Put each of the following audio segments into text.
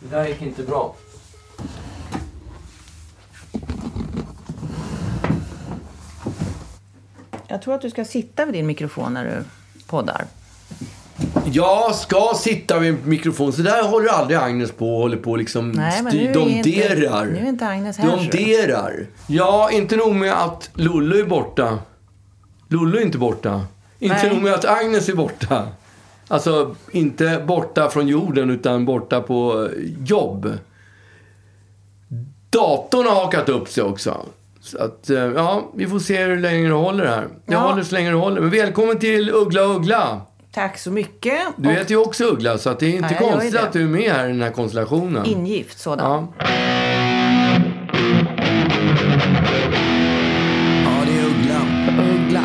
Det där gick inte bra. Jag tror att du ska sitta vid din mikrofon när du Mm, poddar. Jag ska sitta vid mikrofon. Så där håller aldrig Agnes på och håller på och liksom Nej, men nu styr. är Domderar. inte- nu är inte Agnes här, så. Domderar. Ja, inte nog med att Lollo är borta. Lollo är inte borta. Inte Nej. nog med att Agnes är borta. Alltså, inte borta från jorden utan borta på eh, jobb. Datorn har hakat upp sig också. Så att, eh, ja, vi får se hur länge det håller här. Jag Ja. håller så länge det håller. Men välkommen till Uggla Uggla. Tack så mycket. Du heter ju också Uggla, så att det är inte Ja, jag gör ju konstigt det. att du är med här i den här Och konstellationen. Ingift sådan. Ja. Ja, det är Uggla. Uggla.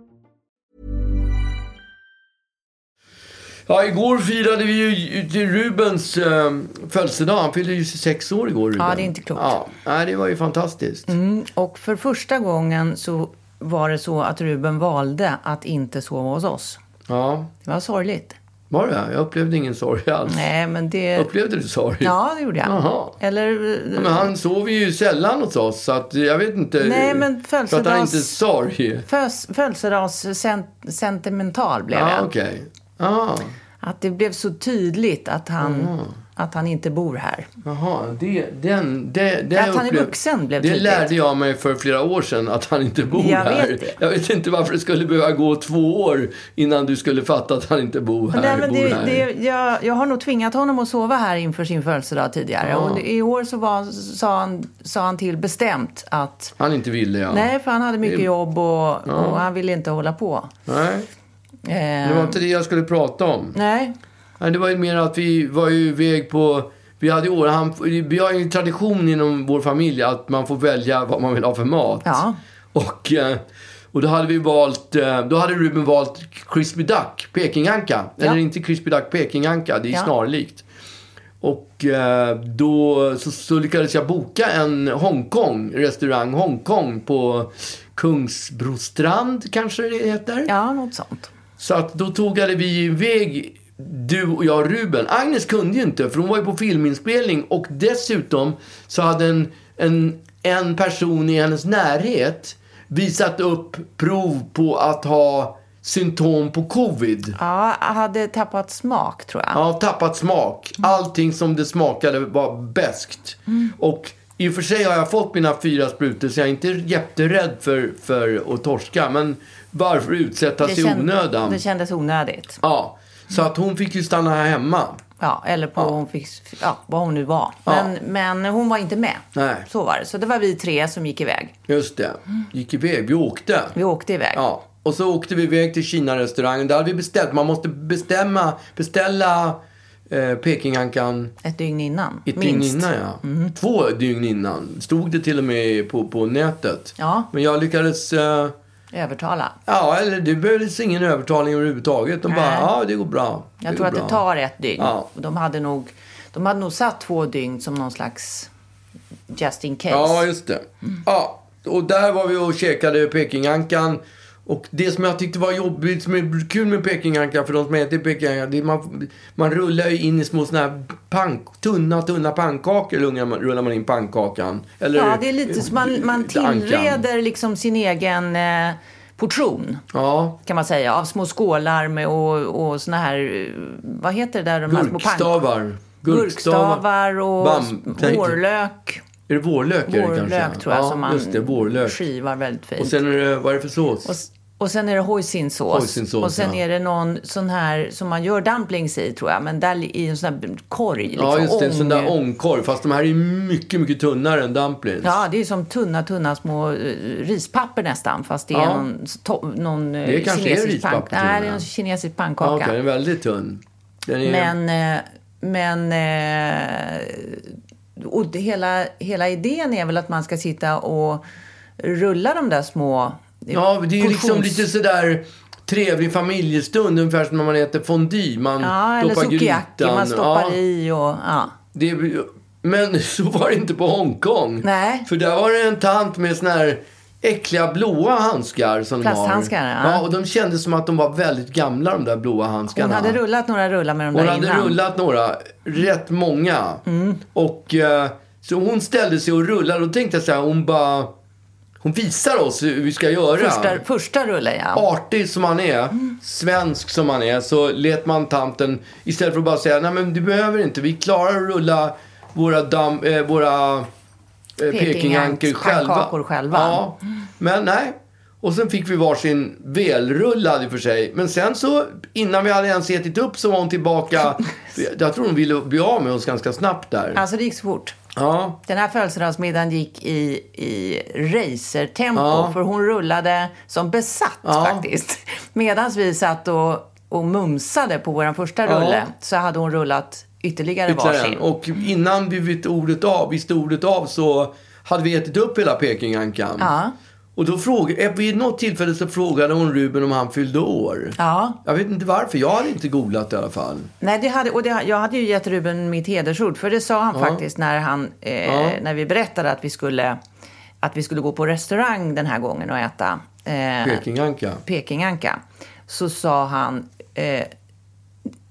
Ja, igår firade vi ju ju Rubens eh, födelsedag. Han fyllde ju 26 år igår, Ruben. Ja, det är inte klokt. Ja, nej, det var ju fantastiskt. Mm, och för första gången så var det så att Ruben valde att inte sova hos oss. Ja, Det var sorgligt. var det? Jag upplevde ingen sorg alls. Nej, men det... Upplevde du sorg? Ja, det gjorde jag. Jaha. Eller... eh, Ja, Men han sover ju sällan hos oss, så att jag vet inte. Nej, men För att han födelsedags- inte är sorg. Fös- Födelsedagssentimental blev Ja, jag. Ah, okej. Ah. Ja, Att det blev så tydligt att han, Mm. att han inte bor här. Jaha, det, den, det, det Att han är upplev- vuxen blev Det tydligt. lärde jag mig för flera år sedan, att han inte bor Jag här. vet det. Jag vet inte varför det skulle behöva gå två år innan du skulle fatta att han inte bor här. Nej, men bor det, här. det, jag, jag har nog tvingat honom att sova här inför sin födelsedag tidigare. Och det, i år så var, sa, han, sa han till bestämt att Han inte ville, ja. nej, för han hade mycket jobb och, och han ville inte hålla på. Nej, Eh, det var inte det jag skulle prata om. Nej, Nej, det var ju mer att vi var ju iväg på... Vi, hade ju, år- han, vi har ju en tradition inom vår familj att man får välja vad man vill ha för mat. Ja. Och, eh, och då hade vi valt... eh, Då hade Ruben valt crispy duck, pekinganka. Eller inte crispy duck, pekinganka. Det är Ja. snarlikt. Och eh, då så, så lyckades jag boka en Hongkong, restaurang Hongkong på Kungsbrostrand kanske det heter. ja, något sånt. Så att då togade vi iväg, du och jag och Ruben. Agnes kunde ju inte, för hon var ju på filminspelning. Och dessutom så hade en, en, en person i hennes närhet visat upp prov på att ha symptom på covid. Ja, jag hade tappat smak tror jag. Ja, tappat smak. Allting som det smakade var beskt. Mm. Och i och för sig har jag fått mina fyra sprutor så jag är inte jätterädd för, för att torska. Men varför utsätta sig i känd- onödan? det kändes onödigt. Ja, så att hon fick ju stanna här hemma. Ja, eller på hon fick, ja, vad hon nu var. Men, men hon var inte med. Nej. Så var det. Så det var vi tre som gick iväg. Just det. Gick iväg. Vi åkte. Vi åkte iväg. Ja. Och så åkte vi iväg till Kina-restaurangen. Där hade vi beställt. Man måste bestämma, beställa eh, Pekingankan Ett dygn innan. ett dygn minst. Mm. innan. Ja. Två dygn innan. Stod det till och med på, på nätet. Ja. Men jag lyckades... Eh, Övertala. ja, eller det behövdes ingen övertalning överhuvudtaget. De bara, Nej. ja det går bra. Jag går tror att bra. det tar ett dygn. Ja. Och De, hade nog, de hade nog satt två dygn som någon slags just in case. Ja, just det. Ja, och där var vi och käkade Pekingankan. Och det som jag tyckte var jobbigt, som är kul med Pekingankan, för de som äter Pekingankan, det är man, man rullar ju in i små såna här pank, tunna, tunna pannkakor, rullar man- rullar man in pannkakan. Eller, Ja, det är lite så man, man eh, ankan. tillreder liksom sin egen eh, portion Ja. kan man säga av små skålar med och, och såna här, eh, vad heter det där? De här små pank- Gurkstavar. Gurkstavar och Bam, tänk- vårlök. Är det vårlök? är det kanske? Vårlök tror jag ja, som man just det, vårlök. skivar väldigt fint. Och sen är det, vad är det för sås? Och s- Och sen är det hoisinsås. Hoisinsås, och sen ja. är det någon sån här som man gör dumplings i tror jag. Men där li- i en sån här korg. Liksom, ja, just det. En sån där ång. ångkorv. Fast de här är mycket, mycket tunnare än dumplings. Ja, det är som tunna, tunna små eh, rispapper nästan. Fast det är Ja. någon, s- to, någon eh, Det kanske är kinesisk rispapper pank- till och med. Nej, det är en kinesisk pannkaka. Ja, Okej, den är väldigt tunn. Den är, Men, eh, men eh, och det- hela, hela idén är väl att man ska sitta och rulla de där små ja, det är ju liksom portions- lite sådär trevlig familjestund. Ungefär som när man äter fondy. Man Ja, eller doppar sukiyaki grytan. man stoppar ja, i och... Ja. Det är, men så var det inte på Hongkong. Nej. För där var det en tant med såna här äckliga blåa handskar som de har. Plasthandskar, ja. ja. och de kändes som att de var väldigt gamla de där blåa handskarna. Hon hade rullat några rullar med de Hon där hade innan. Mm. rullat några, rätt många. Och eh, så hon ställde sig och rullade och tänkte jag så här, hon bara... Hon visar oss hur vi ska göra. Första, första rullen, ja. Artig som han är, svensk som han är, så lät man tanten istället för att bara säga nej men du behöver inte, vi klarar att rulla våra, dam, eh, våra eh, pekingankor pannkakor själva. själva. Ja, men nej. Och sen fick vi varsin välrullad i och för sig. Men sen så, innan vi hade ens ätit upp så var hon tillbaka. Jag tror hon ville bli av med oss ganska snabbt där. Alltså det gick så fort. Ja. Den här födelsedagsmiddagen gick i, i racertempo. För hon rullade som besatt faktiskt. Medan vi satt och, och mumsade på vår första rulle så hade hon rullat ytterligare ytterligare varsin. en. Och innan vi visste ordet av, visste ordet av så hade vi ätit upp hela Pekingankan. Ja. Och då frågade, eh, vid något tillfälle så frågade hon Ruben om han fyllde år. Ja. Jag vet inte varför, jag hade inte googlat i alla fall. Nej, det hade, och det, jag hade ju gett Ruben mitt hedersord, för det sa han faktiskt när, han, eh, när vi berättade att vi, skulle, att vi skulle gå på restaurang den här gången och äta eh, Pekinganka. Pekinganka. Så sa han, eh,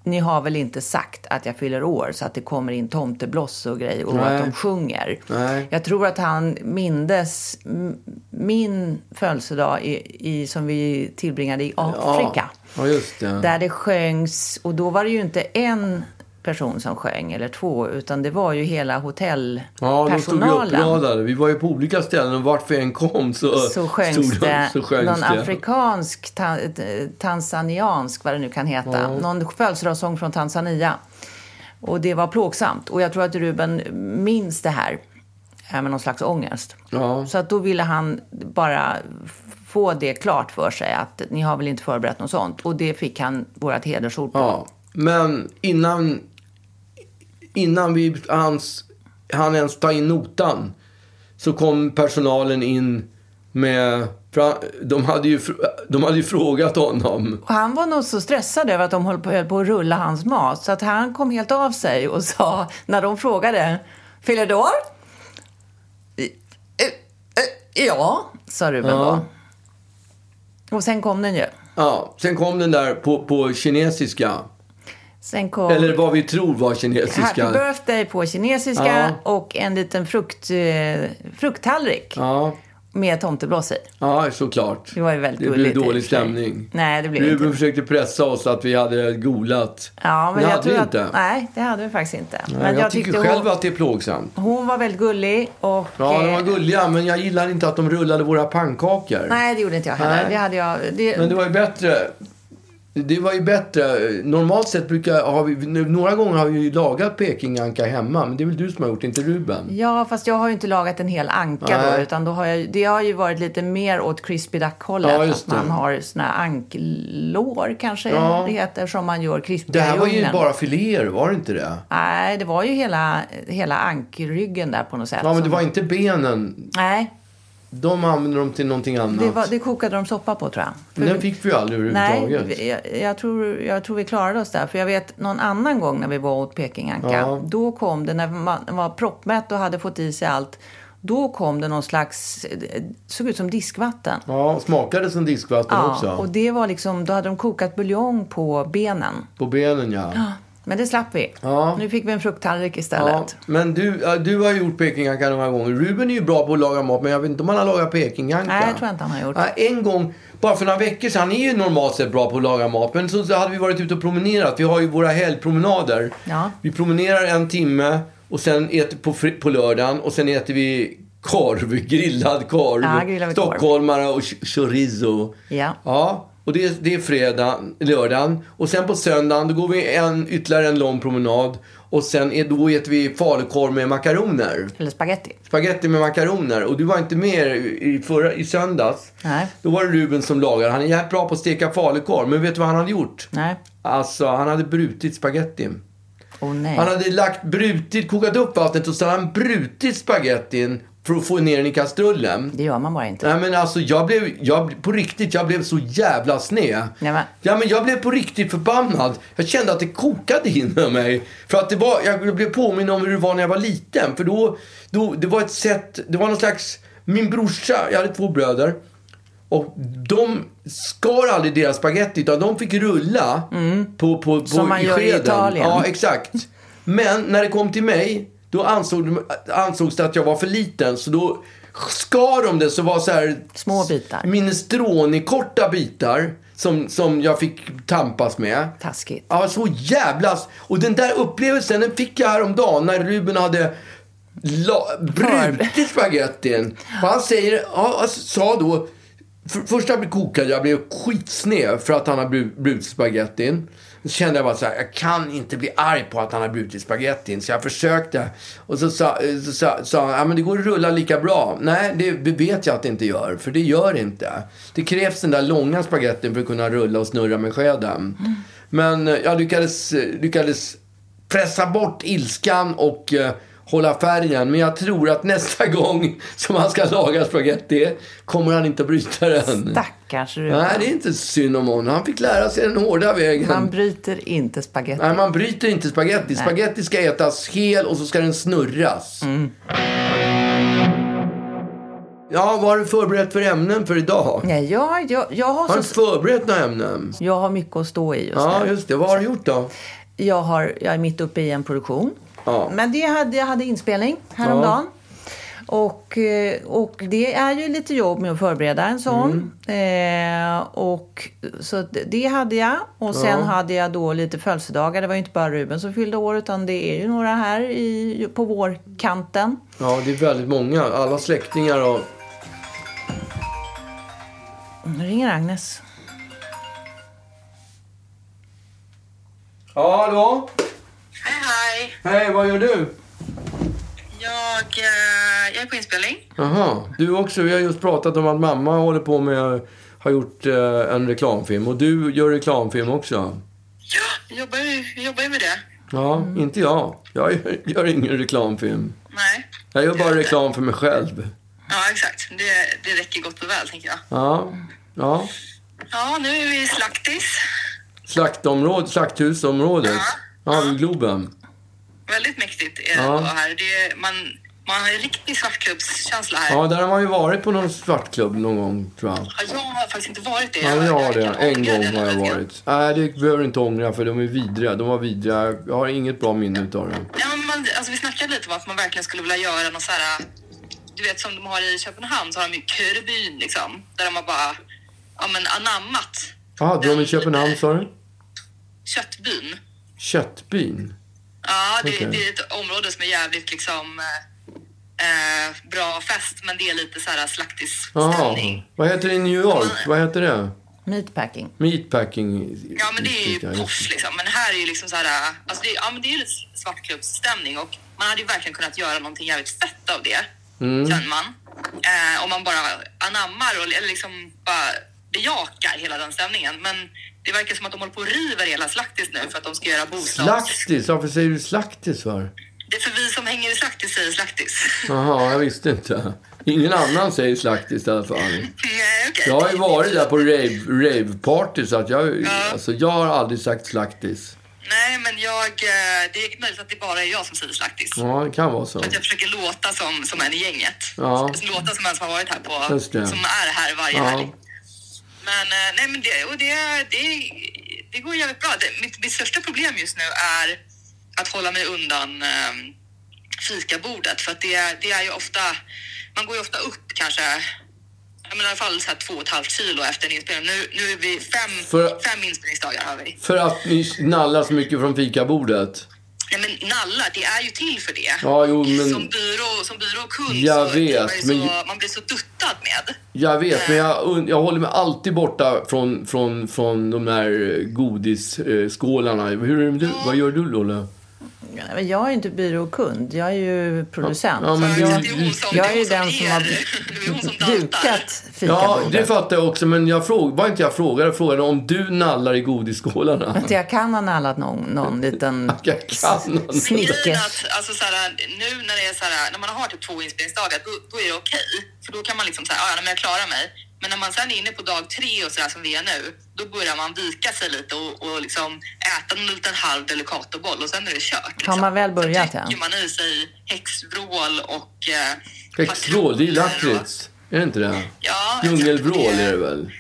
ni har väl inte sagt att jag fyller år så att det kommer in tomtebloss och grejer och Nej. att de sjunger. Nej. Jag tror att han mindes m- min födelsedag i, i, som vi tillbringade i Afrika. Ja, just det. Där det sjöngs, och då var det ju inte en person som sjöng eller två, utan det var ju hela Ja, de stod ju hotellpersonalen. uppradade. Vi var ju på olika ställen och vart vi än kom så, så sjöngs stod de- det så sjöngs någon det. afrikansk, ta, eh, tanzaniansk, vad det nu kan heta, någon födelsedagssång från Tanzania. Och det var plågsamt. Och jag tror att Ruben minns det här eh, med någon slags ångest. Ja. Så att då ville han bara få det klart för sig att ni har väl inte förberett något sånt. Och det fick han vårt hedersord på. Ja, men innan, innan vi hans, han ens ta in notan så kom personalen in med... fra- De hade ju, fr- de hade ju frågat honom. Och han var nog så stressad över att de höll på, höll på att rulla hans mat så att han kom helt av sig och sa när de frågade Fyller du år? "I- eh, eh, Ja, sa Ruben Ja. då. Och sen kom den ju. Ja, sen kom den där på, på kinesiska. Sen kom Eller vad vi tror var Happy kinesiska. birthday på kinesiska och en liten frukt, eh, frukttallrik Ja, med tomtebloss i. ja, såklart. Det var ju väldigt Det blev gulligt i och för dålig sig. stämning. Nej, det blev Ruben inte. försökte pressa oss att vi hade golat. Ja, men det jag hade tror vi att, inte. Nej, det hade vi faktiskt inte. Nej, jag, tycker hon, själv att det är plågsamt. hon var väldigt gullig och... Ja, de var eh, gulliga, men jag gillar inte att de rullade våra pannkakor. Nej, det gjorde inte jag heller. Nej. Det hade jag... Det, Men det var ju bättre. Det var ju bättre. Normalt sett brukar har vi, några gånger har vi ju lagat pekinganka hemma, men det är väl du som har gjort, inte Ruben? Ja, fast jag har ju inte lagat en hel anka då, Nej. utan då har jag, det har ju varit lite mer åt crispy duck-hållet. Ja, just att man det. har såna här anklår, kanske Ja. det heter, som man gör krispiga Det här i var ju ugnen. bara filéer, var det inte det? Nej, det var ju hela, hela ankryggen där på något sätt. Ja, men det som- var inte benen. Nej, De använde dem till någonting annat. det, var, det kokade de soppa på tror jag. För- Den fick vi ju aldrig Nej, överhuvudtaget. vi- jag, jag, tror, jag tror vi klarade oss där. För jag vet någon annan gång när vi var åt Pekinganka. Ja. Då kom det, när man var proppmätt och hade fått i sig allt. Då kom det någon slags, eh, såg ut som diskvatten. Ja, och smakade som diskvatten Ja, också. och det var liksom, då hade de kokat buljong på benen. På benen, ja. Men det slapp vi. Ja. Nu fick vi en frukttallrik Ja, istället. men du, ja, du har gjort pekinganka några gånger. Ruben är ju bra på att laga mat, men jag vet inte om han har lagat pekinganka. Nej, jag tror inte han har gjort. Ja, en gång bara för några veckor sedan, han är ju normalt sett bra på att laga mat. Men så hade vi varit ute och promenerat. Vi har ju våra helgpromenader. Ja. Vi promenerar en timme och sen äter på, fri- på lördagen och sen äter vi korv, grillad korv. Ja, grillad korv. Stockholmare och ch- chorizo. Ja. Ja, och det är, det är fredag, lördagen. Och sen på söndagen då går vi en, ytterligare en lång promenad. Och sen är, då äter vi falukorv med makaroner. Eller spaghetti. Spaghetti med makaroner. Och du var inte med i, i förra, i söndags. Nej. Då var det Ruben som lagade. Han är jävligt bra på att steka falukorv. Men vet du vad han hade gjort? Nej. Alltså, han hade brutit spagettin. Åh nej. Han hade lagt brutit, kokat upp vattnet och så hade han brutit spagettin för att få ner den i kastrullen. Det gör man bara inte. Nej men alltså jag blev, jag, på riktigt, jag blev så jävla sned. Nej, men- Ja men jag blev på riktigt förbannad. Jag kände att det kokade inom mig. För att det var, jag blev påminn om hur det var när jag var liten. För då, då det var ett sätt, det var någon slags, min brorsa, jag hade två bröder. Och de skar aldrig deras spaghetti utan de fick rulla på, på, på Mm. Som man i gör i skeden. Italien. Ja, exakt. Men när det kom till mig, då ansåg, de- ansågs det att jag var för liten. Så då skar de det så var så här... Små bitar. Minestrone-korta bitar som, som jag fick tampas med. Taskigt. Ja, så jävlas. Och den där upplevelsen den fick jag häromdagen när Ruben hade la, brutit spagettin. Och han säger, ja, han sa då, för, första blev kokad, jag blev skitsned för att han har bru- brutit spagettin. Så kände jag bara så här, jag kan inte bli arg på att han har brutit spagettin. Så jag försökte. Och så sa, så sa, sa han, ja men det går att rulla lika bra. Nej, det, det vet jag att det inte gör. För det gör det inte. Det krävs den där långa spagettin för att kunna rulla och snurra med skeden. Men eh, jag lyckades, eh, lyckades pressa bort ilskan och eh, hålla färgen. Men jag tror att nästa gång som han ska laga spagetti kommer han inte bryta den. Stackars Ruben. Nej, det är inte synd om honom. Han fick lära sig den hårda vägen. Man bryter inte spagetti. Nej, man bryter inte spagetti. Spagetti ska ätas hel och så ska den snurras. Ja, vad har du förberett för ämnen för idag? Nej, jag, jag, jag, Har har du så, förberett några ämnen? jag har mycket att stå i just Ja, nu. just det. Vad har du gjort då? Jag, har, jag är mitt uppe i en produktion. Ja. Men det hade, jag hade inspelning häromdagen. Och, eh, och det är ju lite jobb med att förbereda en sån. Mm. Eh, och, så det- det hade jag. Och sen hade jag då lite födelsedagar. Det var ju inte bara Ruben som fyllde år utan det är ju några här i, på vårkanten. Ja, det är väldigt många. Alla släktingar och... Nu ringer Agnes. Ja, hallå? Hej, hej. Hej, vad gör du? Jag, eh, jag är på inspelning. Jaha, du också. Vi har just pratat om att mamma håller på med, har gjort eh, en reklamfilm. Och du gör reklamfilm också. Ja, jag jobbar ju jag jobbar ju med det. Ja, inte jag. Jag gör, gör ingen reklamfilm. Nej. Jag gör bara reklam för mig själv. Ja, exakt. Det, det räcker gott och väl, tänker jag. Ja, ja. Ja, nu är vi i Slaktis. Slaktområde, slakthusområdet. Ja, vid Globen. Väldigt mäktigt är det Ja. att vara här. Det är, man, man har ju riktig svartklubbskänsla här. Ja. Ja, där har man ju varit på någon svartklubb någon gång, tror jag. jag har faktiskt inte varit det. Ja, jag har det. kan En ångra gång den har jag lite grann. varit. Nej, det behöver du inte ångra, för de är vidriga. De var vidriga. Jag har inget bra minne utav dem. Ja, men man, alltså, vi snackade lite om att man verkligen skulle vilja göra någon så här... Du vet som de har i Köpenhamn så har de ju Körebyn liksom. Där de har bara ja, men, anammat Jaha, dröm i Köpenhamn, sa du? köttbyn. Köttbyn? Ja, det, Okej. det är ett område som är jävligt liksom eh, eh, bra fest, men det är lite så här Jaha. slaktisstämning. Vad heter det i New York? Vad heter det? Meatpacking. Meatpacking? Ja, men det är ju Ja, just posh liksom. Men här är ju liksom så här, eh, alltså det, är- ja, men det är ju lite svartklubbsstämning och man hade ju verkligen kunnat göra någonting jävligt fett av det, Mm. känner man. Eh, om man bara anammar och eller liksom bara bejakar hela den stämningen. Men det verkar som att de håller på och river hela slaktis nu för att de ska göra bostads... Slaktis? Varför säger du slaktis för? Det är för vi som hänger i slaktis säger slaktis. Jaha, jag visste inte. Ingen annan säger slaktis i alla fall. Nej, Eh, okej. Jag har ju varit där på rave, rave-party så att jag, alltså, jag har aldrig sagt slaktis. Nej, men jag, eh, det är möjligt att det bara är jag som säger slaktis. Ja, det kan vara så. Att jag försöker låta som, som en i gänget. Ja. Låta som en som har varit här på, Just det. som är här varje Ja. helg. Men, eh, nej, men det, och det, det, det går jävligt bra. Det, mitt, mitt största problem just nu är att hålla mig undan eh, fikabordet. För att det, det är ju ofta, man går ju ofta upp kanske ja, men i alla fall så här två och ett halvt kilo efter en inspelning. Nu, nu är vi fem, För- fem inspelningsdagar har vi. För att ni nallar så mycket från fikabordet. Nej men nalla, det är ju till för det. Ja, jo, men- Som byrå, som byrå och kund Jag vet, så, blir man ju så, men- man blir så duttad med. Jag vet, men jag, und- jag håller mig alltid borta från, från, från de där eh, godisskålarna. Hur är det med du? Vad gör du, Lolle? Ja, men jag är ju inte byråkund, jag är ju producent. Ja, men Så du- jag, det är hon som, jag är ju det den som har det är hon som daltar. dukat Ja, det fikabordet. fattar jag också, men jag fråg, var inte jag frågade? Jag frågade om du nallar i godisskålarna. Att jag kan ha nallat någon, någon liten Jag kan ha Men grejen snickers. är att alltså, så här, nu när det är så här, när man har typ två inspelningsdagar, då, då är det okej. För då kan man liksom säga, ah, ja, men jag klarar mig. Men när man sen är inne på dag tre och så där som vi är nu, då börjar man vika sig lite och, och liksom äta en liten halv delicatoboll och sen är det kört. Liksom. Har man väl börjat, Sen trycker ja. man i sig häxvrål och... Eh, Häxvrål, det är ju patroner och- lakrits. Är det inte det? Ja, Djungelvrål exakt. är det väl?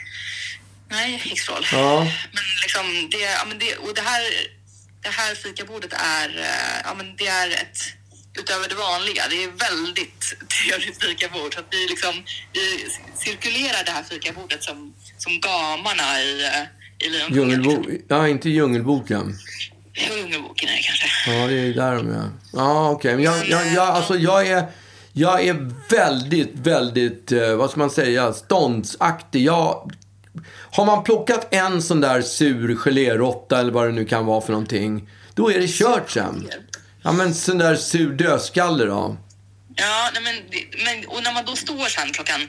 Nej, häxvrål. Ja. Men liksom, det, ja, men det, och det här, det här fikabordet är, eh, ja men det är ett, utöver det vanliga, det är väldigt trevligt fikabord. Så att vi liksom, vi cirkulerar det här fikabordet som, som gamarna i, eh, i Lejonkungen. liksom. Djungelboken? Ja, inte Djungelboken. Djungelboken är det kanske. Ja, det är där de är. Ja, okej. Men jag, jag, jag, alltså, jag, är, jag är väldigt, väldigt, eh, vad ska man säga, ståndsaktig. Jag, har man plockat en sån där sur geléråtta eller vad det nu kan vara för någonting, då är det kört sen. Ja, men sån där sur dödskalle då. Ja, nej, men, det- men, och när man då står sen klockan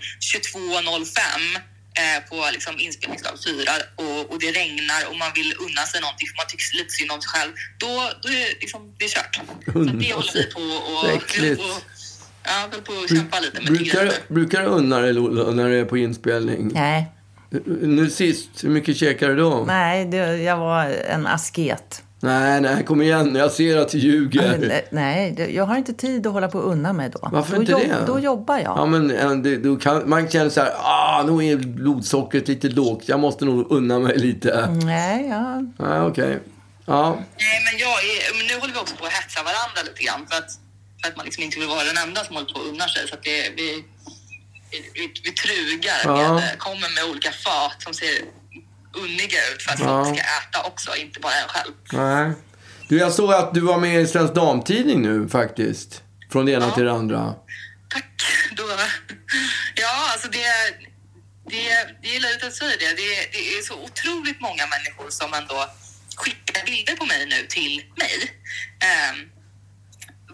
22.05 eh, på liksom inspelningsdag fyra och, och det regnar och man vill unna sig någonting för man tycks lite synd om sig själv, då, då är det, liksom, det är kört. Så att det håller vi på och, Det är och, äckligt. och ja, vi håller på att kämpa lite med Brukar, det. du- brukar du unna dig Lola, när du är på inspelning? Nej, Nu sist, hur mycket käkar du då? nej det, jag var en asket. Nej, nej, kom igen. Jag ser att du ljuger. Men, eh, Nej, det- jag har inte tid att hålla på och unna mig då. Varför då inte jobb- det? Då jobbar jag. Ja, men eh, det, då kan, man känner så här, ah, nu är blodsockret lite lågt. Jag måste nog unna mig lite. Nej, ja. Ja, okej. Ja, Nej, men, jag är, men nu håller vi också på att hetsa varandra lite grann för att, för att man liksom inte vill vara den enda som håller på att unna sig. Så att det, vi, vi, vi trugar, Ja. med, kommer med olika fat som ser unniga ut för att folk ska äta också, inte bara en själv. nej. Du, jag såg att du var med i Svensk Damtidning nu faktiskt. Från det ena till det andra. Tack! Då, ja, alltså det, det, det är löjligt att säga det. det. Det är så otroligt många människor som ändå skickar bilder på mig nu till mig. Ehm,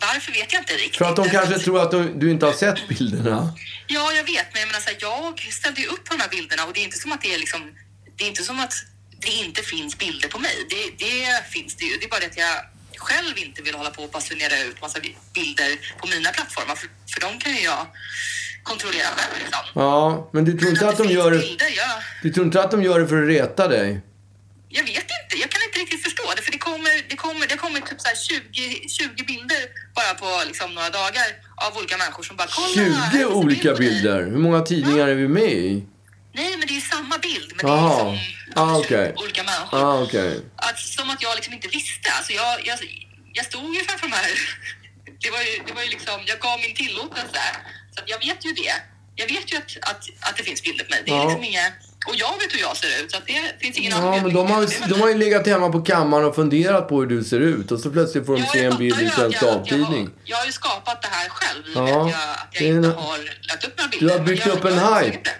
varför vet jag inte riktigt. För att de kanske Men- tror att du, du inte har sett bilderna. Ja, jag vet, men jag menar så här, jag ställde ju upp på de här bilderna och det är inte som att det är liksom, det är inte som att det inte finns bilder på mig. Det, det finns det ju. Det är bara det att jag själv inte vill hålla på och basunera ut massa bilder på mina plattformar, för, för de kan ju jag kontrollera själv. Liksom. Ja, men du tror inte Men att de finns gör det, Bilder, jag, du tror inte att de gör det för att reta dig? jag vet inte, jag kan inte riktigt förstå det, för det kommer, det kommer, det kommer typ så här 20, 20 bilder bara på liksom några dagar av olika människor som bara 20 kollar. här finns en bild olika på dig." bilder. Hur många tidningar är vi med i? Nej, men det är ju samma bild. Men Jaha. det är liksom Ah, okej. olika människor. Ah, okej. Att, som att jag liksom inte visste. Alltså jag, jag, jag stod ju framför de här. Det var ju, det var ju liksom, jag gav min tillåtelse. Så att jag vet ju det. Jag vet ju att, att, att det finns bilder på mig. Det är Ja. liksom inga, och jag vet hur jag ser ut. Så att det finns ingen Ja, men de har, de har ju legat hemma på kammaren och funderat på hur du ser ut och så plötsligt får de se en bild i Svensk Dagtidning. Jag, har ju skapat det här själv. i och Ja. med Att jag, att jag Det är en- inte har lagt upp några bilder. har Men byggt jag- upp en jag har hype. inte.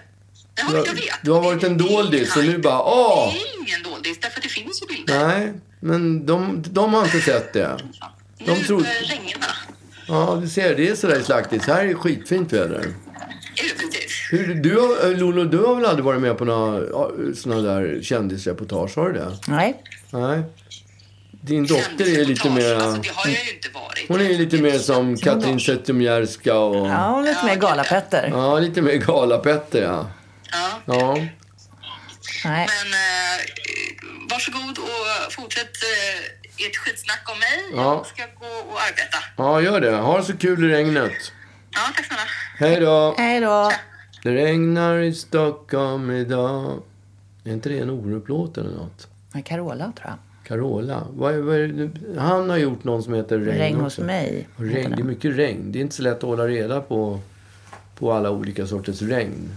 Ja, Du har- jag vet. du har varit en Det är ingen doldis och nu hype. bara, åh! Det är ingen doldis, därför att det finns ju bilder. Nej, men de, de har inte sett det. De De nu tror- tror... regnar Ja, du ser, det är sådär slaktigt. Här är skitfint väder. det. Är det precis? Hur, du har, eh, Lolo, du har väl aldrig varit med på några ja, såna där kändisreportage? Har du det? Nej. Nej. Din dotter är lite Kändisreportage, mer... Alltså, det har jag ju inte varit. Hon är lite mer som Katrin Zettermjärska och... Ja, hon är lite mer galapetter. Ja, lite mer Galapetter, ja. Ja. Ja. Nej. Men eh, varsågod och fortsätt eh, ert skitsnack om mig. Ja. Jag ska gå och arbeta. Ja, gör det. Ha det så kul i regnet. Ja, tack snälla. Hej då! Hej då. Det regnar i Stockholm idag. Är inte det en Orup-låt eller något? Men Carola, tror jag. Carola. Vad, är- vad, är det- han har gjort någon som heter Regn Regn hos också. mig, Och Regn, det är mycket regn. Det är inte så lätt att hålla reda på, på alla olika sorters regn.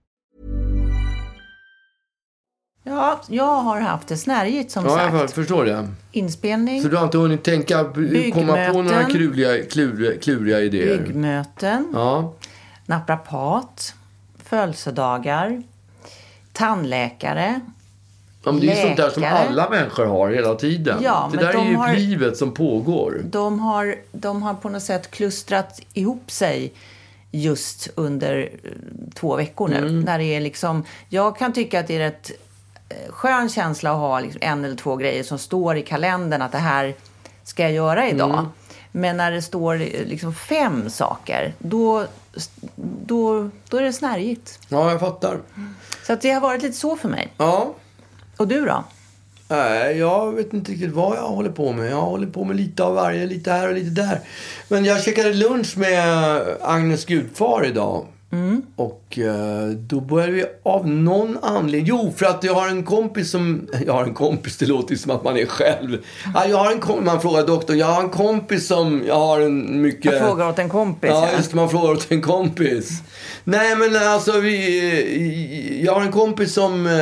Ja, jag har haft det snärjigt som Ja, jag sagt. förstår det. Inspelning, Så du har inte hunnit tänka, eh, komma på några Byggmöten. kluriga, kluriga, kluriga idéer? byggmöten, Ja. naprapat, födelsedagar, tandläkare. Ja, men det är ju sånt där som Läkare. alla människor har hela tiden. Ja, det men där är de ju har- livet som pågår. De har, de har på något sätt klustrat ihop sig just under eh, två veckor nu. När det är liksom, jag kan tycka att det är rätt eh, skön känsla att ha liksom en eller två grejer som står i kalendern att det här ska jag göra idag. Men när det står eh, liksom fem saker, då, då, då är det snärjigt. Ja, jag fattar. Så att det har varit lite så för mig. Ja. Och du då? Nej, jag vet inte riktigt vad jag håller på med. Jag håller på med lite av varje, lite här och lite där. Men jag käkade lunch med Agnes gudfar idag. Mm. Och eh, då började vi av någon anledning... Jo, för att jag har en kompis som... Jag har en kompis, det låter ju som att man är själv. Ja, jag har en kompis, man frågar doktorn. Jag har en kompis som... Jag har en mycket... Jag frågar åt en kompis. Eh, Ja, ja. just det, man frågar åt en kompis. Nej, men alltså vi... Jag har en kompis som, eh,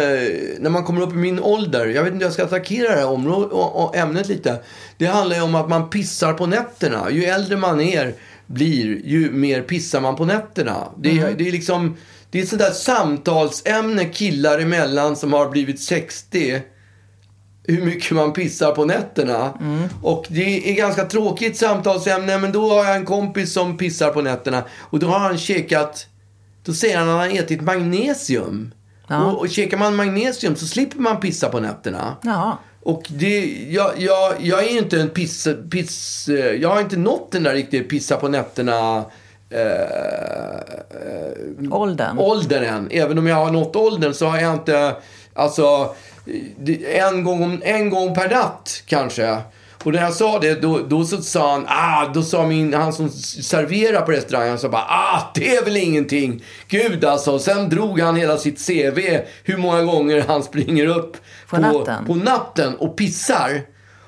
när man kommer upp i min ålder, jag vet inte hur jag ska attackera det här området, och, och ämnet lite. Det handlar ju om att man pissar på nätterna. Ju äldre man är, blir, ju mer pissar man på nätterna. Det, Mm. är- det är liksom... Det är ett sånt där samtalsämne killar emellan som har blivit 60 hur mycket man pissar på nätterna. Och det är ganska tråkigt samtalsämne, men då har jag en kompis som pissar på nätterna. Och då har han käkat, då säger han att han har ätit magnesium. Och, och käkar man magnesium så slipper man pissa på nätterna. Jaha. Och det, jag, jag, jag är ju inte en piss, piss... eh, Jag har inte nått den där riktigt pissa på nätterna eh, Åldern. åldern än. Även om jag har nått åldern så har jag inte... Alltså, det- en gång, om- en gång per natt kanske. Och när jag sa det, då, då så sa han, ah, då sa min, han som serverar på restaurangen, så bara, ah, det är väl ingenting. Gud alltså. Sen drog han hela sitt CV, hur många gånger han springer upp På natten. på natten och pissar.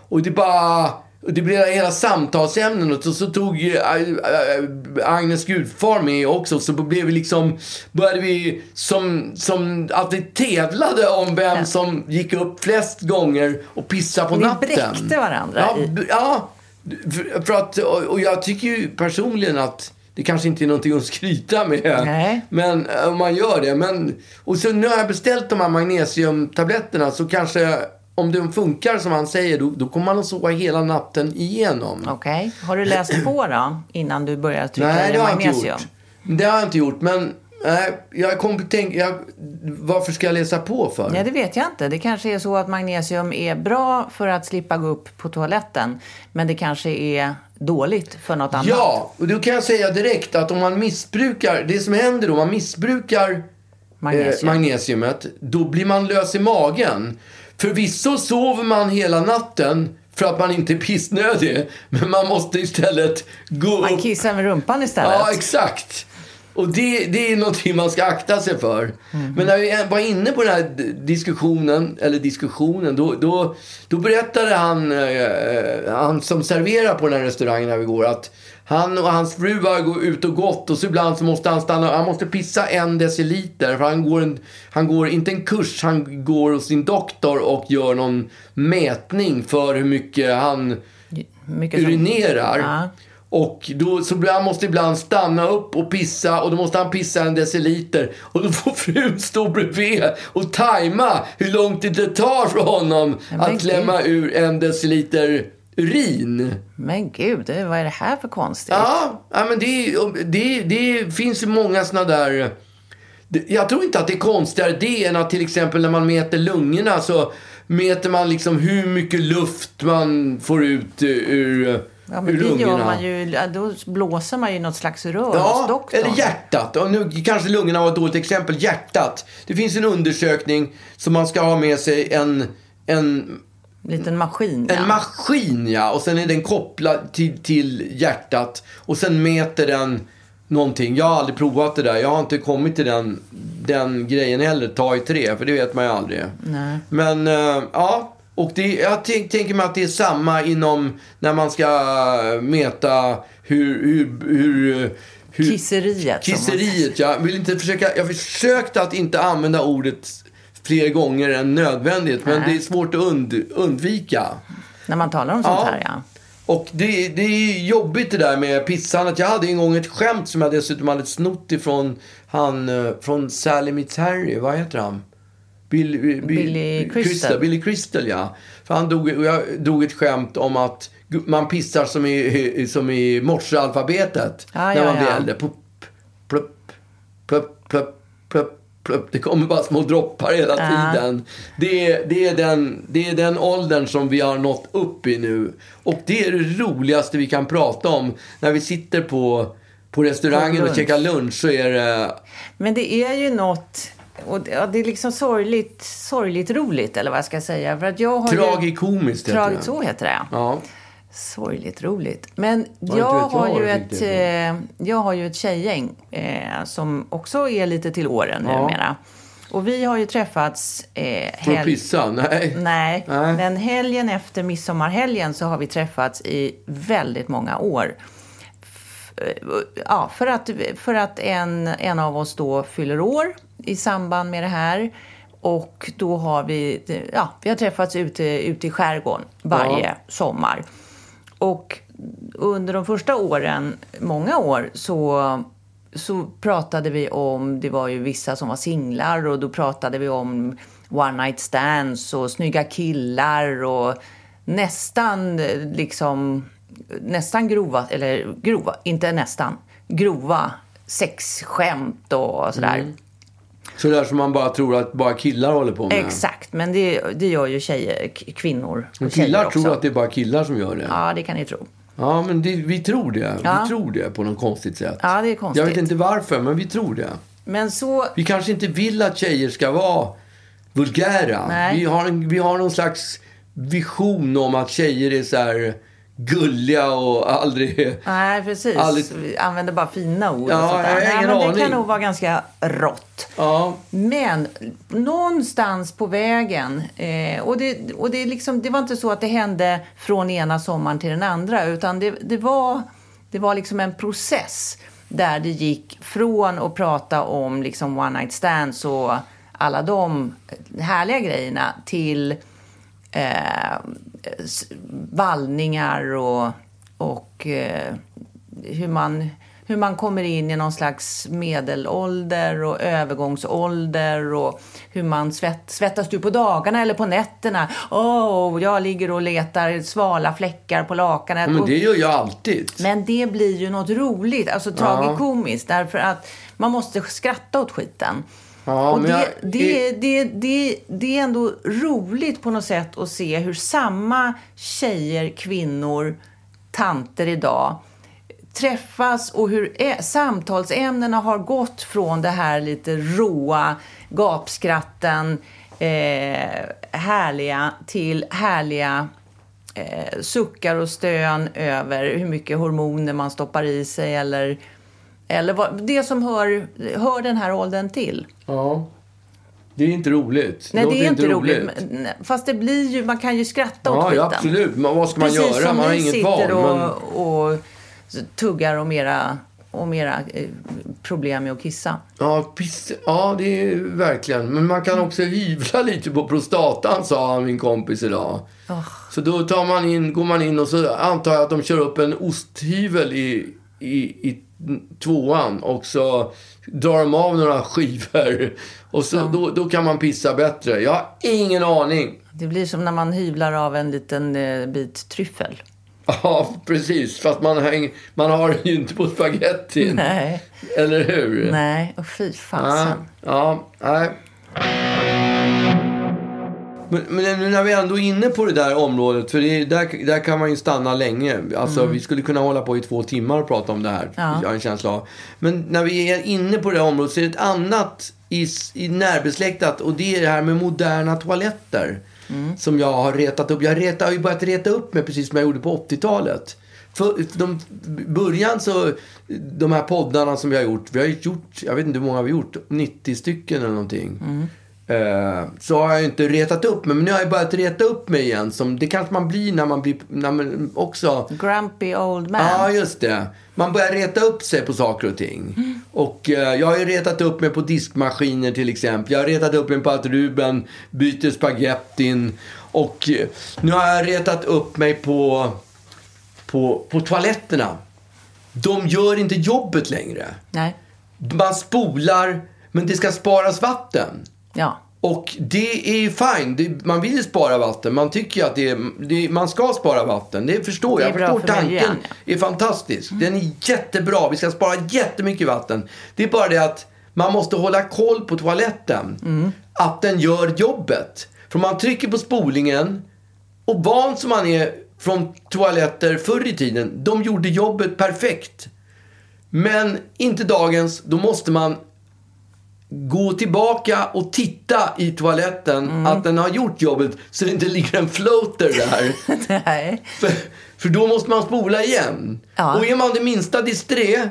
Och det bara... och Det blev hela samtalsämnen och så, så tog ju, äh, äh, Agnes gudfar med också. Så blev vi liksom, började vi som, som att vi tävlade om vem som gick upp flest gånger och pissade på Ni natten. bräckte varandra Ja, i- b- ja för, för att, och, och jag tycker ju personligen att det kanske inte är någonting att skryta med. Nej. Men eh, om man gör det. Men, och så nu har jag beställt de här magnesiumtabletterna så kanske om de funkar som han säger då, då kommer man att sova hela natten igenom. Okej. Har du läst på då innan du började trycka Nej, det i dig har jag inte magnesium? gjort. Det har jag inte gjort. Men nej, jag kom att tänka, jag, varför ska jag läsa på för? Nej, det vet jag inte. Det kanske är så att magnesium är bra för att slippa gå upp på toaletten. Men det kanske är dåligt för något annat. ja, och då kan jag säga direkt att om man missbrukar, det som händer då, man missbrukar Magnesium. Eh, magnesiumet, då blir man lös i magen. Förvisso sover man hela natten för att man inte är pissnödig, men man måste istället gå Man upp. kissar med rumpan istället. Ja, exakt. Och det, det är någonting man ska akta sig för. Men när vi var inne på den här d- diskussionen, eller diskussionen, då, då, då berättade han, eh, han som serverar på den här restaurangen där vi går, att han och hans fru har gått ut och gått och så ibland så måste han stanna, han måste pissa en deciliter för han går, en, han går inte en kurs, han går hos sin doktor och gör någon mätning för hur mycket han Mycket som- urinerar. Ja. Och då så blir- han måste ibland stanna upp och pissa och då måste han pissa en deciliter. Och då får frun stå bredvid och tajma hur långt det tar för honom Men att gud. klämma ur en deciliter urin. Men gud, det- vad är det här för konstigt? Ja, ja men det, det, det finns ju många såna där... det- Jag tror inte att det är konstigare det än att till exempel när man mäter lungorna så mäter man liksom hur mycket luft man får ut eh, ur, Ja, men ur det gör lungorna. man ju, ja, då blåser man ju något slags rör hos Ja, doktorn. eller hjärtat. Och nu kanske lungorna var ett dåligt exempel. Hjärtat. Det finns en undersökning som man ska ha med sig en, en, Liten maskin. en ja. maskin ja. Och sen är den kopplad till, till hjärtat. Och sen mäter den någonting. Jag har aldrig provat det där. Jag har inte kommit till den, den grejen heller. Ta i tre, för det vet man ju aldrig. Nej. Men eh, ja. Och det, jag tänk, tänker mig att det är samma inom när man ska mäta hur, hur, hur, hur Kisseriet. som man- Kisseriet, jag vill inte försöka. Jag försökte att inte använda ordet fler gånger än nödvändigt. Men Nej. det är svårt att und, undvika. När man talar om sånt Ja. här, ja. Och det, det är jobbigt det där med pissandet. Jag hade en gång ett skämt som jag dessutom hade snott ifrån han, eh, från Sally Mitterry. Vad heter han? Bill, eh, Bill, Billy Crystal. Billy Crystal, ja. För han dog, och jag dog ett skämt om att gu- man pissar som i, som i morsealfabetet. Ah, när ja, man blir ja. äldre. Plupp, plupp, plupp, plupp, plupp, plupp. Det kommer bara små droppar hela Ja. tiden. Det är, det, är den, det är den åldern som vi har nått upp i nu. Och det är det roligaste vi kan prata om. När vi sitter på, på På restaurangen lunch. och käkar lunch så är det... Men det är ju något... Och det, ja, det är liksom sorgligt, sorgligt roligt, eller vad jag ska säga. För att jag har ju- Tragikomiskt heter Tragik- det. så heter det. Ja. Sorgligt roligt. Men vet jag jag har, vad ju det ett, fick det eh, jag har ju ett tjejgäng eh, som också är lite till åren numera. Och vi har ju träffats... Eh, För att hel- pissa? Nej. Nej, Nej. men helgen efter midsommarhelgen så har vi träffats i väldigt många år. F- eh, Ja, för att, för att en, en av oss då fyller år i samband med det här. Och då har vi, ja, vi har träffats ute, ute i skärgården varje Ja. eh, sommar. Och under de första åren, många år, så, så pratade vi om, det var ju vissa som var singlar och då pratade vi om one night stands och snygga killar och nästan eh, liksom, nästan grova, eller grova, inte nästan, grova sexskämt och sådär. Sådär som man bara tror att bara killar håller på med. Exakt, men det, det gör ju tjejer, k- kvinnor och Men tjejer killar också. tror att det är bara killar som gör det. Ja, Ja, det kan ni tro. men det, vi tror det. Ja. Vi tror det på något konstigt sätt. Ja, det är konstigt. Jag vet inte varför, men vi tror det. Men så Vi kanske inte vill att tjejer ska vara vulgära. Nej. Vi har, en, vi har någon slags vision om att tjejer är så här gulliga och aldrig... Nej, precis. Aldrig- Vi använder bara fina ord. Ja, och sånt där. jag har Nej, ingen men Det aning. kan nog vara ganska rått. Ja, Men någonstans på vägen, eh, och, det, och det, är liksom, det var inte så att det hände från ena sommaren till den andra, utan det, det, var, det var liksom en process där det gick från att prata om liksom one night stands och alla de härliga grejerna till eh, s- vallningar och, och eh, hur, man, hur man kommer in i någon slags medelålder och övergångsålder och hur man svett, svettas du på dagarna eller på nätterna? Åh, jag ligger och letar svala fläckar på lakanet. men Och- det gör jag alltid. men det blir ju något roligt, alltså tragikomiskt, därför att man måste skratta åt skiten. Ja, och men det, jag- det, det, det, det är ändå roligt på något sätt att se hur samma tjejer, kvinnor, tanter idag träffas och hur ä- samtalsämnena har gått från det här lite råa gapskratten, eh, härliga, till härliga eh, suckar och stön över hur mycket hormoner man stoppar i sig eller Eller vad, det som hör, hör den här åldern till. Ja. Det är inte roligt. Nej, det låter är inte roligt. men- nej, Fast det blir ju, man kan ju skratta åt Ja, skiten. ja, absolut. Men vad ska man Precis göra? som Man har ni inget val. sitter men- och, och tuggar om era, om era eh, problem med att kissa. Ja, piss, ja, det är verkligen. Men man kan också hyvla lite på prostatan, sa han, min kompis idag. Så då tar man in, går man in och så antar jag att de kör upp en osthyvel i, i, i tvåan och så drar de av några skivor. Och så, då, då kan man pissa bättre. Jag har ingen aning. Det blir som när man hyvlar av en liten eh, bit tryffel. Ja, precis. Fast man, häng, man har ju inte på spagettin. Nej, Eller hur? nej, och fy Ja, fasen. ja, nej. Men, men nu när vi ändå är inne på det där området, för det, där, där kan man ju stanna länge. Alltså vi skulle kunna hålla på i två timmar och prata om det här. Jag har en känsla av. Men när vi är inne på det här området så är det ett annat i, s- i närbesläktat och det är det här med moderna toaletter. Som jag har retat upp. Jag reta, har ju börjat reta upp mig precis som jag gjorde på 80-talet. För de, början så, de här poddarna som vi har gjort, vi har ju gjort, jag vet inte hur många vi har gjort, 90 stycken eller någonting. Eh, Så har jag ju inte retat upp mig, men nu har jag börjat reta upp mig igen. Som, det kanske man blir när man blir, när man också... Grumpy old man. Ja, just det. Man börjar reta upp sig på saker och ting. Och eh, jag har ju retat upp mig på diskmaskiner till exempel. Jag har retat upp mig på att Ruben byter spagettin. Och eh, nu har jag retat upp mig på, på, på toaletterna. De gör inte jobbet längre. Nej, Man spolar, men det ska sparas vatten. ja. Och det är ju fine. Det, man vill ju spara vatten. Man tycker ju att det, är- det, är- man ska spara vatten. Det förstår Det är jag. bra Jag för förstår tanken. miljön, Mm. är fantastisk. Den är jättebra. Vi ska spara jättemycket vatten. Det är bara det att man måste hålla koll på toaletten. Mm. Att den gör jobbet. För om man trycker på spolingen och van som man är från toaletter förr i tiden. De gjorde jobbet perfekt. Men inte dagens. Då måste man gå tillbaka och titta i toaletten Mm. att den har gjort jobbet så det inte ligger en floater där. Nej. för, för då måste man spola igen. Ja. Och är man det minsta disträ,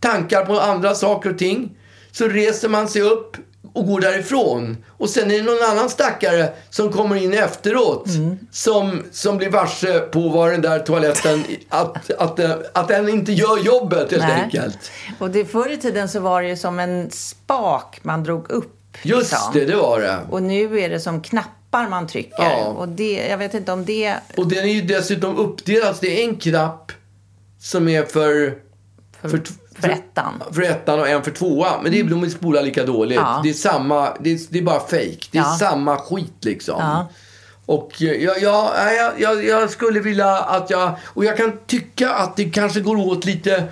tankar på andra saker och ting, så reser man sig upp och går därifrån. Och sen är det någon annan stackare som kommer in efteråt Mm. som, som blir varse på vad den där toaletten, att, att, att den inte gör jobbet helt Nej. enkelt. Och det, förr i tiden så var det ju som en spak man drog upp. Just liksom. det, det var det. Och nu är det som knappar man trycker. Ja. Och det, jag vet inte om det Och den är ju dessutom uppdelad. Så det är en knapp som är för... För, för ettan. För ettan och en för tvåan. Men det är de spolar lika dåligt. Ja. Det, är samma, det, är, det är bara fake. Det är Ja. samma skit liksom. Ja. Och eh, jag, jag, nej, jag, jag, jag skulle vilja att jag... Och jag kan tycka att det kanske går åt lite...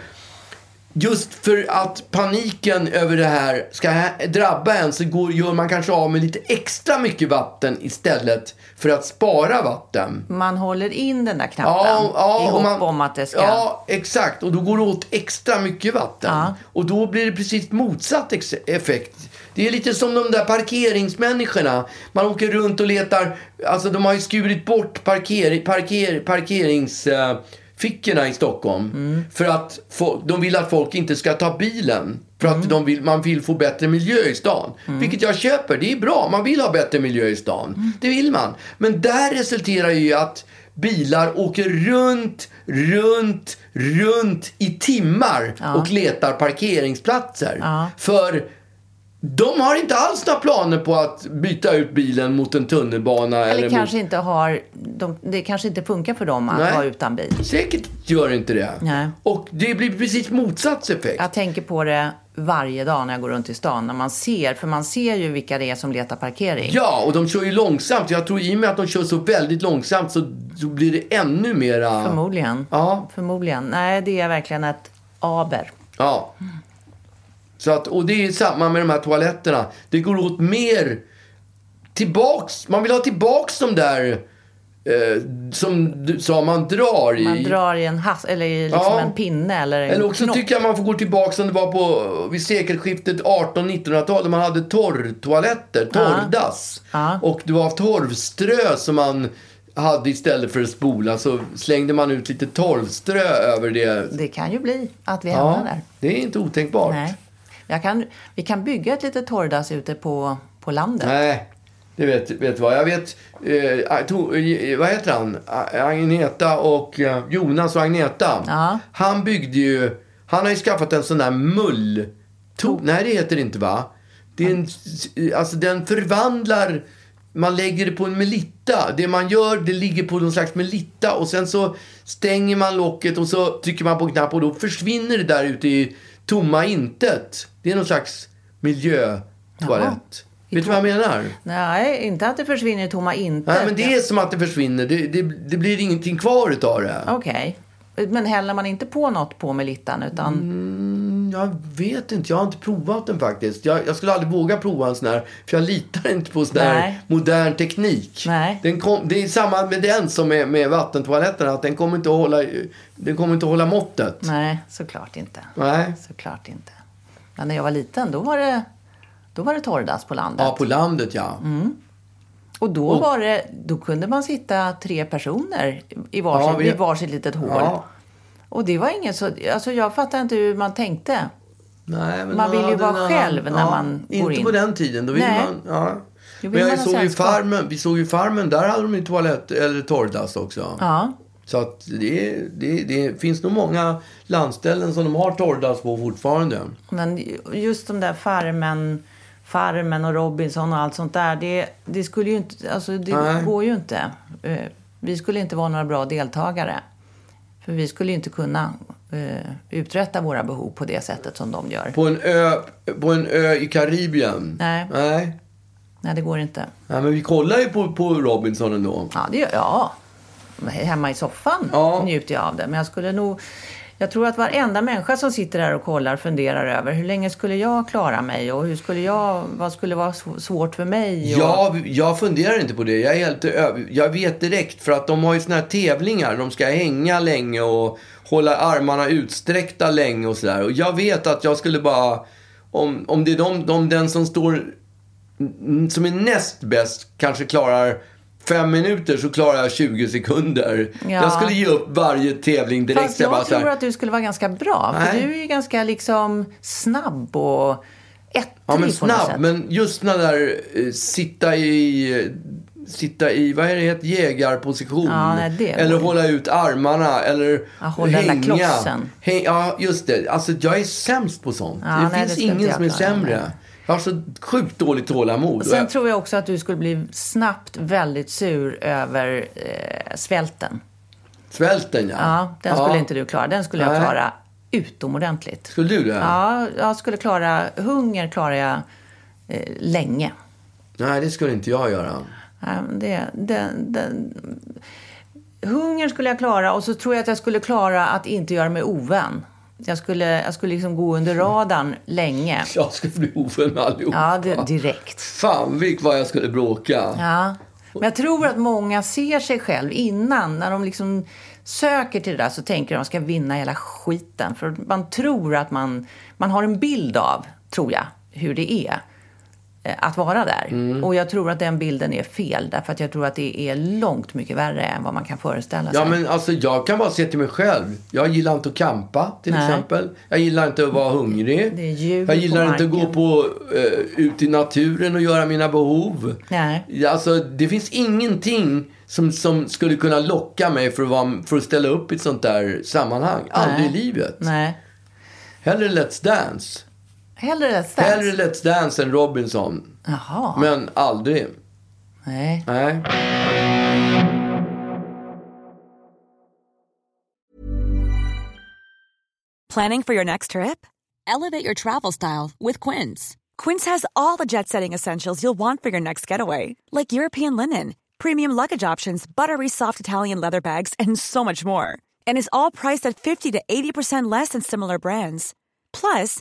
Just för att paniken över det här ska hä- drabba en så går, gör man kanske av med lite extra mycket vatten istället för att spara vatten. man håller in den där knappen Ja, ja, i och hopp man- om att det ska... Ja, exakt. Och då går det åt extra mycket vatten. Ja. Och då blir det precis motsatt ex- effekt. Det är lite som de där parkeringsmänniskorna. Man åker runt och letar. Alltså de har ju skurit bort parker, parker, parkeringsfickorna i Stockholm. Mm. För att få, de vill att folk inte ska ta bilen. För Mm. att de vill, man vill få bättre miljö i stan. Vilket jag köper. Det är bra. Man vill ha bättre miljö i stan. Mm. Det vill man. Men där resulterar ju i att bilar åker runt, runt, runt i timmar och letar parkeringsplatser. För de har inte alls några planer på att byta ut bilen mot en tunnelbana. Eller, Eller kanske mot... inte har... De, det kanske inte funkar för dem att Nej. vara utan bil. Säkert gör inte det. Nej. Och det blir precis motsatt effekt. Jag tänker på det varje dag när jag går runt i stan. När man ser, för man ser ju vilka det är som letar parkering. Ja, och de kör ju långsamt. Jag tror i och med att de kör så väldigt långsamt så, så blir det ännu mera... Förmodligen. Ja. Förmodligen. Nej, det är verkligen ett aber. Ja. Så att, och det är samma med de här toaletterna. Det går åt mer tillbaks. Man vill ha tillbaks de där eh, som du sa man drar i. Man drar i en hass, eller i liksom Ja. en pinne eller en Eller också knopp. tycker jag man får gå tillbaka som det var på vid sekelskiftet 18-1900-tal när man hade torrtoaletter, torrdass. Och det var torvströ som man hade istället för att spola så slängde man ut lite torvströ över det. Det kan ju bli att vi hamnar där. det är inte otänkbart. Nej. Jag kan, vi kan bygga ett litet torrdass ute på, på landet. Nej, det vet, vet du vad. Jag vet, eh, to, eh, vad heter han? A- Agneta och eh, Jonas och Agneta. Ja. Han byggde ju, han har ju skaffat en sån där mull. To, nej, det heter det inte va? Det är en, alltså den förvandlar, man lägger det på en melitta. Det man gör, det ligger på någon slags melitta och sen så stänger man locket och så trycker man på en knapp och då försvinner det där ute i tomma intet. Det är någon slags miljötoalett. I Vet du vad jag menar? Nej, inte att det försvinner i tomma intet. Nej, men det är som att det försvinner. Det, det, det blir ingenting kvar utav det. Okej. Men häller man inte på något på melittan utan... Mm. Jag vet inte. Jag har inte provat den faktiskt. Jag, jag skulle aldrig våga prova en sån här. För jag litar inte på sån här Nej. modern teknik. Nej. Den kom, det är samma med den som med, med vattentoaletterna. Att den kommer inte att hålla, den kommer inte att hålla måttet. Nej, såklart inte. Nej. Såklart inte. Men när jag var liten, då var det, då var det torrdass på landet. Ja, på landet ja. Mm. Och då, var det, då kunde man sitta tre personer i varsin, Ja, vi- i varsitt litet hål. Ja. Och det var inget så... Alltså jag fattar inte hur man tänkte. Nej, men Man vill ju hade vara en själv när ja, man går Inte in. på den tiden. Då vill Nej. man... Ja. Då vill men jag man ha såg ju sällskap. farmen, vi såg ju Farmen. Där hade de ju toalett eller torrdass också. Ja. Så att det, det, det finns nog många landställen som de har torrdass på fortfarande. Men just de där Farmen, Farmen och Robinson och allt sånt där. Det, det skulle ju inte, alltså det Nej. går ju inte. Eh, Vi skulle inte vara några bra deltagare. För vi skulle ju inte kunna eh, uträtta våra behov på det sättet som de gör. På en ö, på en ö i Karibien. Nej. Nej. Nej, det går inte. Nej, men vi kollar ju på, på Robinson ändå. Ja, det gör jag. Hemma i soffan Ja. njuter jag av det. Men jag skulle nog... Jag tror att varenda människa som sitter här och kollar funderar över hur länge skulle jag klara mig och hur skulle jag, vad skulle vara sv- svårt för mig? Och... Ja, jag funderar inte på det. Jag, är helt, ö- jag vet direkt för att de har ju såna här tävlingar. De ska hänga länge och hålla armarna utsträckta länge och sådär. Och jag vet att jag skulle bara... Om, om det är de, de, den som står... n- Som är näst bäst kanske klarar fem minuter så klarar jag 20 sekunder. Ja. Jag skulle ge upp varje tävling direkt. Fast jag, bara så här, tror att du skulle vara ganska bra. För Nej. du är ju ganska liksom snabb och ettrig Ja, men på något snabb. sätt. Men just när där eh, sitta i... eh, Sitta i, vad är det heter, jägarposition. Ja, nej, det eller går ju. hålla ut armarna eller Ja, hålla den där klossen. Häng, ja, just det. Alltså, jag är sämst på sånt. Ja, det nej, det finns skulle inte ingen jag som är klara, sämre. nej. Jag har så sjukt dåligt tålamod. Sen Och tror jag också att du skulle bli snabbt väldigt sur över eh, svälten. jag- Svälten, ja. Ja, den skulle inte du klara. Den skulle jag Nej. klara utomordentligt. Skulle du det? Ja, jag skulle klara... Hunger klarar jag eh, länge. Nej, det skulle inte jag göra. Nej, men Det, det, det, hunger skulle jag klara och så tror jag att jag skulle klara att inte göra mig ovän. Jag skulle, jag skulle liksom gå under radarn länge. Jag skulle bli ovän med allihopa. Ja, det, direkt. Fan, vilk vad jag skulle bråka. Ja. Men jag tror att många ser sig själv innan. När de liksom söker till det där så tänker de att de ska vinna hela skiten. För man tror att man, man har en bild av, tror jag, hur det är eh, att vara där. Mm. Och jag tror att den bilden är fel. Därför att jag tror att det är långt mycket värre än vad man kan föreställa sig. Ja, men alltså jag kan bara se till mig själv. Jag gillar inte att kampa till Nej. exempel. Jag gillar inte att vara hungrig. Det är djur jag gillar på inte att gå marken. på, eh, ut i naturen och göra mina behov. Nej. Ja, Alltså, det finns ingenting som, som skulle kunna locka mig för att, vara, för att ställa upp i ett sånt där sammanhang. Aldrig i livet. Nej. Hellre Let's Dance. Hellre Let's Dance. Hellre Let's Dance än Robinson. Jaha. Men aldrig. Nej. Nej. Planning for your next trip? Elevate your travel style with Quince. Quince has all the jet setting essentials you'll want for your next getaway, like European linen, premium luggage options, buttery soft Italian leather bags, and so much more. And is all priced at 50 to 80% less than similar brands. Plus,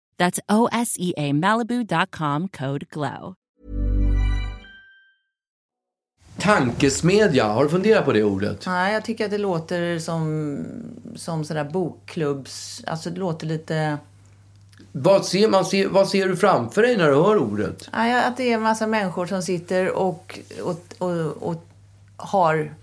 That's O S E A Malibu.com code GLOW. Tankesmedja, har du funderat på det ordet? Nej, jag tycker att det låter som, som sådär bokklubbs... Alltså det låter lite... Vad ser, man ser, vad ser du framför dig när du hör ordet? Nej, att det är en massa människor som sitter och, och, och, och har...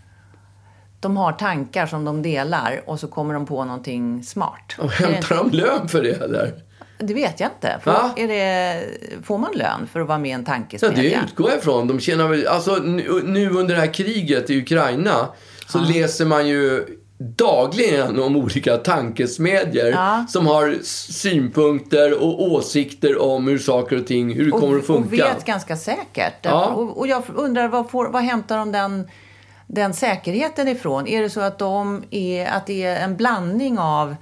De har tankar som de delar och så kommer de på någonting smart. Och Är det inte- hämtar de lön för det eller? Det vet jag inte. Får, Va? är det, får man lön för att vara med i en Ja, det tankesmedja? utgår jag ifrån. De tjänar väl, alltså, nu, nu under det här kriget i Ukraina så läser man ju dagligen om olika tankesmedjor som har s- synpunkter och åsikter om hur saker och ting, hur det kommer att och, och funka. vet ganska säkert. Ja. Och, och jag undrar, vad, får, vad hämtar de den, den säkerheten ifrån? Är det så att, de är, att det är en blandning av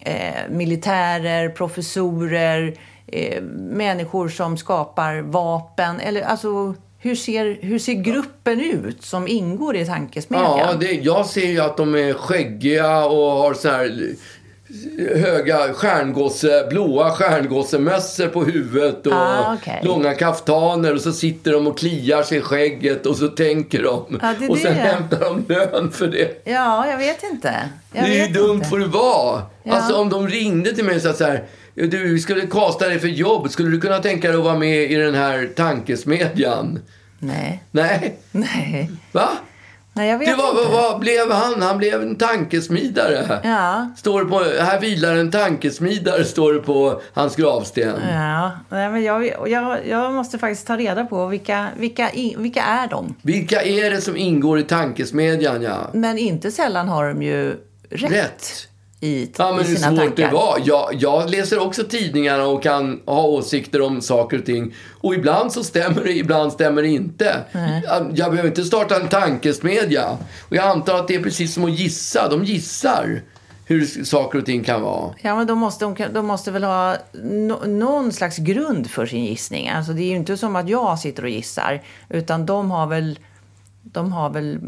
eh, militärer, professorer, eh, människor som skapar vapen? Eller, alltså, hur, ser, hur ser gruppen ut som ingår i tankesmedjan? Ja, det, jag ser ju att de är skäggiga och har så här eh, höga stjärngosse, blåa stjärngossemössor på huvudet och Ah, okej. långa kaftaner och så sitter de och kliar sig i skägget och så tänker de. Ja, det är och sen det. hämtar de lön för det. Ja, jag vet inte. Jag det är ju vet dumt inte. får det vara. Ja. Alltså om de ringde till mig och sa så här. Du vi skulle kasta dig för jobb. Skulle du kunna tänka dig att vara med i den här tankesmedjan? Nej, Nej. nej. Va? Nej, jag vet Du, vad, inte. vad, vad blev han? Han blev en tankesmidare. Ja. Står det på, här vilar en tankesmidare, står det på hans gravsten. Ja, nej, men jag, jag, jag måste faktiskt ta reda på vilka, vilka, i- vilka är de? Vilka är det som ingår i tankesmedjan? Ja? Men inte sällan har de ju rätt, Rätt. i, Ja, men i hur sina svårt tankar. det var. Jag, jag läser också tidningarna och kan ha åsikter om saker och ting. Och ibland så stämmer det, ibland stämmer det inte. Jag, jag behöver inte starta en tankesmedja. Och jag antar att det är precis som att gissa. De gissar hur s- saker och ting kan vara. Ja, men de måste, de, kan- de måste väl ha no, någon slags grund för sin gissning. Alltså, det är ju inte som att jag sitter och gissar, utan de har väl, de har väl,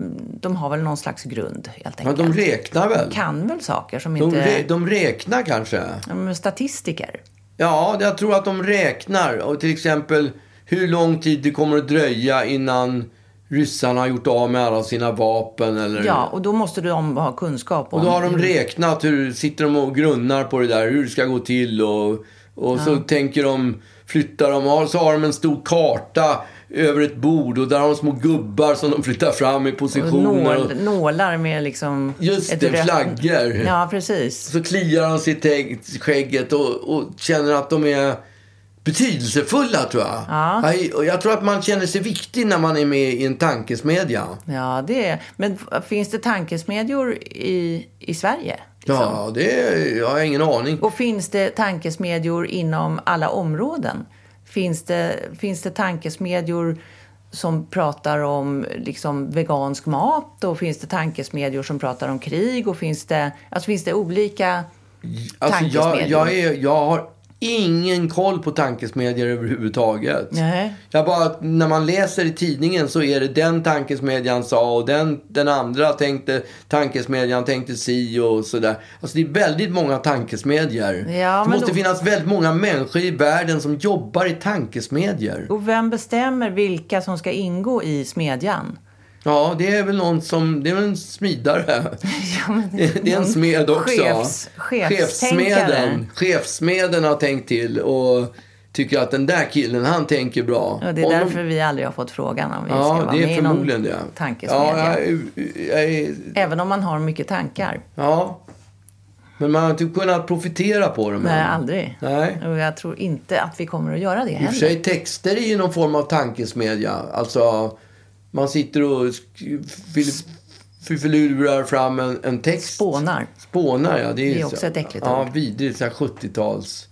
de har väl någon slags grund, helt Men enkelt. de räknar väl? kan väl saker som De, inte... rä, de räknar kanske? De är statistiker. Ja, jag tror att de räknar. Och till exempel hur lång tid det kommer att dröja innan ryssarna har gjort av med alla sina vapen. Eller... Ja, mm. och då måste de ha kunskap om... och då har de räknat. Hur sitter de och grunnar på det där, hur det ska gå till. Och, och så tänker de, flyttar de. Och så har de en stor karta över ett bord och där har de små gubbar som de flyttar fram i positioner. Och Nål, nålar med liksom... Just det, rött- flaggor. Ja, precis. så kliar de sitt ägg- skägget och, och känner att de är betydelsefulla, tror jag. Ja. Jag, och jag tror att man känner sig viktig när man är med i en tankesmedja. Ja, det är... Men f- finns det tankesmedjor i, i Sverige? Liksom. Ja, det jag har ingen aning. Och finns det tankesmedjor inom alla områden? Finns det, finns det tankesmedjor som pratar om liksom, vegansk mat? Och finns det tankesmedjor som pratar om krig? Och finns det, alltså, finns det olika... Alltså, jag, tankesmedjor. jag, är, jag har ingen koll på tankesmedjor överhuvudtaget. Nej. Jag bara, när man läser i tidningen så är det den tankesmedjan sa och den, den andra tänkte, tankesmedjan tänkte si och sådär. Alltså det är väldigt många tankesmedjor. Ja, det men måste då- finnas väldigt många människor i världen som jobbar i tankesmedjor. Och vem bestämmer vilka som ska ingå i smedjan? Ja, det är väl någon som, det är väl en smidare. Ja, men Det det är en någon smed också. Chefs, chefstänkare. chefsmeden, chefsmeden har tänkt till och tycker att den där killen, han tänker bra. Och det är Om de- därför vi aldrig har fått frågan om vi ska Ja, vara det med är i någon förmodligen det. tankesmedja. Ja, jag, är- jag, är- Även om man har mycket tankar. ja, men man har inte kunnat profitera på dem Nej, än. aldrig. Nej. Och jag tror inte att vi kommer att göra det I och heller. för sig, texter är ju någon form av tankesmedja. Alltså, man sitter och sk- fil- filurar fram en, en text. Spånar. Spånar, ja. Det är, Det är ju också så, ett äckligt ja, ord. Mm. Ja, vidrigt. Så här 70-tals...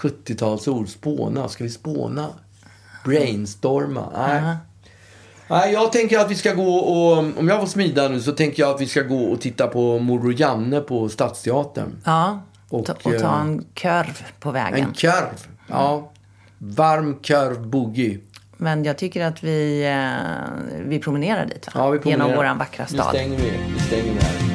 70-talsord. Spåna. Ska vi spåna? Brainstorma. Nej. Nej, jag tänker att vi ska gå och... Om jag får smida nu så tänker jag att vi ska gå och titta på Morbror Janne på Stadsteatern. Ja, Och, eh, ta, och ta en kurv på vägen. En körv. Ja. Varm körv boogie. Men jag tycker att vi, eh, vi promenerar dit, va? Ja, vi promenerar. Genom vår vackra Nu stad. stänger vi. Nu stänger vi här.